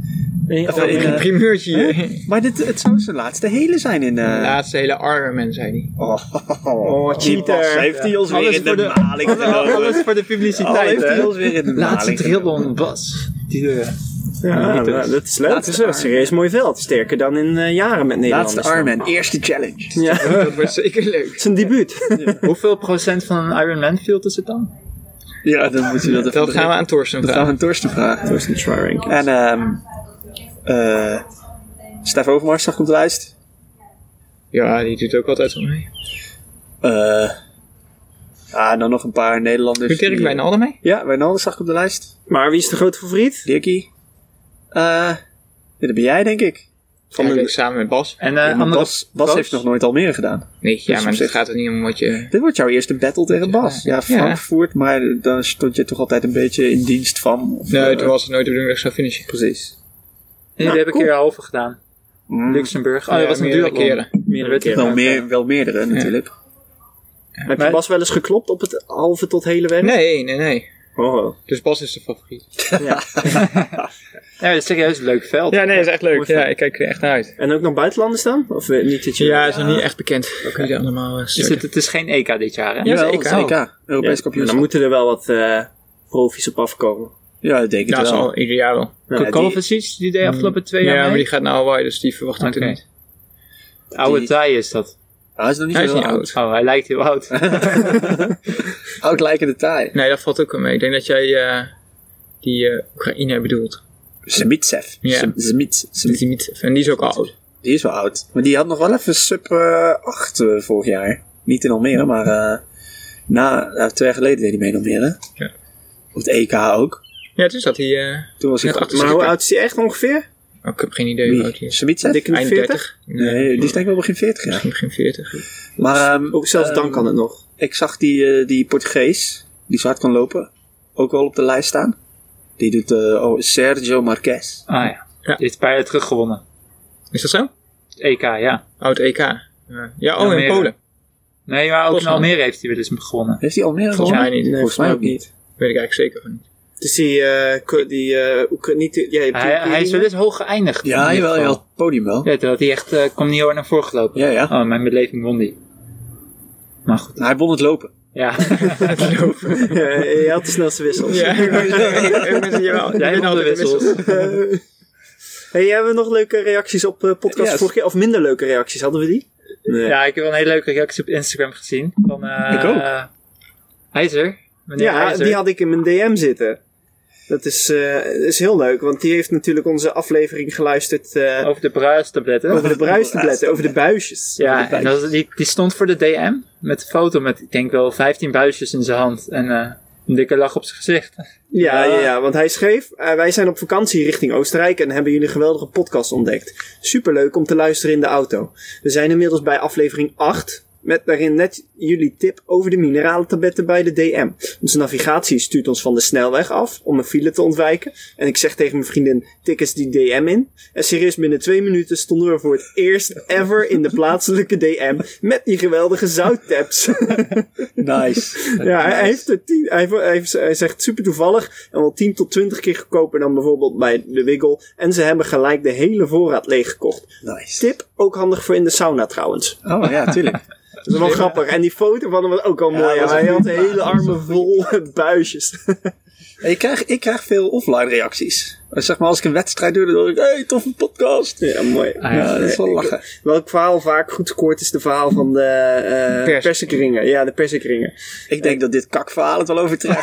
B: Nee,
A: Of in,
D: Een
A: eh,
D: primeurtje hier.
A: maar dit, het zou zijn laatste hele zijn in... eh,
D: Laatste hele Ironman, zei hij.
A: Oh,
B: Oh, cheater.
A: heeft hij ons weer in de, maling genomen.
C: Alles voor de
A: Al
C: publiciteit,
A: heeft hij
C: hè?
A: ons weer in de
C: Laatste
A: maling genomen.
C: triathlon, Bas. Die, eh,
B: Ja,
C: niet
B: nou,
C: dus.
B: dat is leuk. Dat
A: Laatste
B: is een
A: arm.
B: serieus mooi veld. Sterker dan in eh, jaren met Nederland.
A: Laatste Ironman, eerste challenge.
B: Ja, het
D: Dat wordt zeker leuk.
B: is een debuut.
C: Hoeveel procent van een Ironman field is het dan?
A: Ja, dan moet je dat even
D: Dat gaan we aan Torsten
A: Dat gaan we
D: vragen.
A: aan Torsten vragen.
B: is een try ranking.
A: En ehm eh Stef Overmars zag op de lijst.
D: Ja, die doet ook altijd van mee.
A: Eh ah, en dan nog een paar Nederlanders.
D: Doet Dirk
A: dus die- eh,
D: Wijnalden mee?
A: Ja, Wijnaldum zag ik op de lijst.
B: Maar wie is de grote favoriet?
A: Dirkie. Eh ja, dat ben jij, denk ik.
D: Van ja, ik denk samen met Bas.
C: En eh
A: Ja, maar
C: andere
A: Bas, Bas
C: coach?
A: heeft nog nooit Almere gedaan.
D: Nee, ja, maar
A: op
D: het
A: zich-
D: gaat er niet om wat je...
A: Dit wordt jouw eerste battle tegen Bas. Ja, Frank
D: Ja.
A: voert, maar dan stond je toch altijd een beetje in dienst van. of,
D: Nee,
A: eh,
D: toen was het nooit de bedoeling dat ik zou finishen.
A: Precies.
C: Nee, die heb ik een keer halve gedaan. Luxemburg. Oh,
D: Ja,
C: dat was een
D: meerdere
C: duathlon.
D: keren.
C: Meerdere
A: Wel, meer, wel meerdere natuurlijk.
B: Heb je Bas wel eens geklopt op het halve tot hele weg?
D: Nee, nee, nee.
B: Oh, oh.
D: Dus Bas is de favoriet.
C: Nee, dat is serieus een leuk veld.
D: Ja, nee, is echt leuk.
B: Mooi
D: Ja, ik kijk er echt naar uit.
B: En ook nog buitenlanders dan? Of eh, niet dat je...
D: Ja, is nog niet echt bekend. Wie die allemaal eh,
C: Is
D: starten.
C: Dus het, het is geen EK dit jaar, hè?
D: Ja,
A: Jawel,
D: zeker.
A: dat is EK.
B: Ja,
A: Europees
B: maar
A: kampioenschap.
B: Nou, dan moeten er wel wat eh profi's op afkomen.
A: Ja, dat denk ik
D: Ja,
A: wel.
D: zal ieder jaar wel.
B: Nou, ja, die-
C: Kovacic, die deed afgelopen twee
D: Ja,
C: jaar
D: maar
C: mee.
D: die gaat naar Hawaii, dus die verwacht
C: Oké.
D: natuurlijk niet.
C: Oude
A: die-
C: taai is dat.
A: Hij Ah, is nog niet
D: Hij is
A: zo
D: niet
A: oud.
D: oud.
C: Oh, hij lijkt heel oud.
A: Oud lijkende taai.
D: Nee, dat valt ook wel mee. Ik denk dat jij eh, die eh, Oekraïne bedoelt.
A: Zemitsef.
D: Ja.
A: Zem- Zemits. Zem-
D: Dat die niet- En die is ook al oud.
A: Die is wel oud. Maar die had nog wel even sub 8 vorig jaar. Niet in Almere, maar eh, na, eh, twee jaar geleden deed hij mee in Almere.
D: Ja.
A: Op het EK ook.
D: Ja, toen zat hij... eh,
A: Toen was hij
D: Net
A: goed.
D: achter
B: Maar hoe oud is die echt ongeveer?
D: oh, ik heb geen idee hoe oud
A: Wie?
D: hij is.
A: Zemitsef?
B: Dikke
D: Eind
B: 40?
D: 30?
A: Nee, die is denk ik wel begin 40 jaar.
D: Misschien begin 40.
A: Maar ehm,
B: Dus Ook zelfs dan kan het nog.
A: ik zag die, eh, die Portugees, die zo hard kan lopen, ook wel op de lijst staan. Die doet eh, oh, Sergio Marquez.
C: Ah ja.
D: Ja.
C: Die heeft een paar jaar terug gewonnen.
D: Is dat zo?
C: EK, ja.
D: Oud EK. Ja, Ja, oh, in
C: Almere.
D: Polen.
C: Nee, maar ook in
D: Bosman.
C: Almere heeft hij wel eens gewonnen.
A: Heeft hij Almere
D: Volgens
A: gewonnen?
D: mij niet.
B: Nee,
A: volgens mij ook niet.
D: Weet ik eigenlijk zeker van niet.
B: Dus die... eh, ko- die eh, Oekra- niet, ja, je hebt die
C: Hij, hij is wel
B: Oekraïne.
C: eens hoog geëindigd. in
A: Ja,
C: ieder
A: jawel,
C: geval.
A: jawel. Podium wel.
C: Ja, terwijl hij echt eh, kwam niet heel hard naar voren gelopen.
A: Ja, ja.
C: Oh, mijn beleving won die. Maar goed,
A: Hij won het lopen.
C: ja.
B: Ja, je eh, had de snelste wissels.
D: Ja, ik ben wel.
C: Jij won de wissels.
B: Hey, hebben we nog leuke reacties op eh, podcast
A: Ja,
B: vorige keer? Of minder leuke reacties, hadden we die? Nee.
C: Ja, ik heb wel een hele leuke reactie op Instagram gezien. Van, eh
A: Ik ook.
C: IJzer. Meneer
B: Ja,
C: IJzer.
B: die had ik in mijn DM zitten. Dat is, eh, is heel leuk, want die heeft natuurlijk onze aflevering geluisterd eh,
C: Over de bruistabletten.
B: over de bruistabletten, over de buisjes.
C: Oh. Ja, en dat was- die, die stond voor de DM met een foto met, ik denk wel, 15 buisjes in zijn hand en eh, een dikke lach op zijn gezicht.
B: Ja, ja, ja, want hij schreef: eh, Wij zijn op vakantie richting Oostenrijk en hebben jullie een geweldige podcast ontdekt. Superleuk om te luisteren in de auto. We zijn inmiddels bij aflevering 8. Met daarin net jullie tip over de mineralentabletten bij de DM. Onze navigatie stuurt ons van de snelweg af om een file te ontwijken. En ik zeg tegen mijn vriendin: tik eens die DM in. En serieus, binnen twee minuten stonden we voor het eerst ever in de plaatselijke DM. Met die geweldige zouttaps.
A: Nice.
B: Ja, hij, heeft er tien, hij, heeft- hij heeft- hij zegt super toevallig en wel 10 tot 20 keer goedkoper dan bijvoorbeeld bij de Wiggle. En ze hebben gelijk de hele voorraad leeggekocht.
A: Nice.
B: Tip, ook handig voor in de sauna trouwens.
A: Oh ja, tuurlijk.
B: Dat is wel grappig. En die foto van hem was ook al mooi.
A: dat was
B: hij
A: een
B: had hele armen vol buisjes.
A: Ik krijg, ik krijg veel offline reacties. Eh, Zeg maar als ik een wedstrijd doe, dan hoor ik, hey, toffe podcast.
B: Ja, mooi.
C: Ah,
A: Ja, Eh, dat is wel lachen.
B: Welk verhaal vaak goed scoort is de verhaal van de eh
C: Pers.
B: persikringen. Ja, de persikringen.
A: Ik denk dat dit kakverhaal het wel overtreft.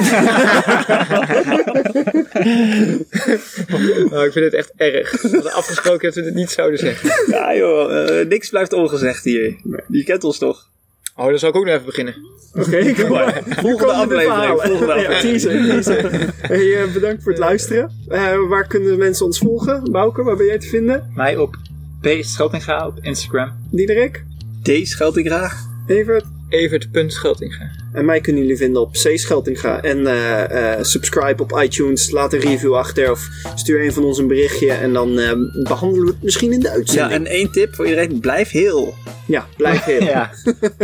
D: Oh, ik vind het echt erg. We hadden afgesproken dat we dit niet zouden zeggen.
A: ja joh, eh, niks blijft ongezegd hier. Je kent ons toch?
D: Oh, dan zal ik ook nog even beginnen.
B: Oké, kom maar.
A: Volgende aflevering. Volgende
B: Ja,
A: aflevering.
B: teaser, teaser. Hey, eh, bedankt voor het luisteren. Eh, waar kunnen mensen ons volgen? Bouke, waar ben jij te vinden?
C: Mij op P. Schottinga op Instagram.
B: Diederik,
A: Deze scheld ik graag.
B: Evert.
D: Even het punt Scheltinga.
B: En mij kunnen jullie vinden op C. Scheltinga. En eh, eh, subscribe op iTunes. Laat een review achter. Of stuur een van ons een berichtje. En dan eh, behandelen we het misschien in de
A: Ja,
B: uitzending.
A: en één tip voor iedereen. Blijf heel.
B: Ja, blijf heel.
C: Ja,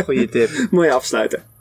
C: goede tip.
B: Mooi afsluiten.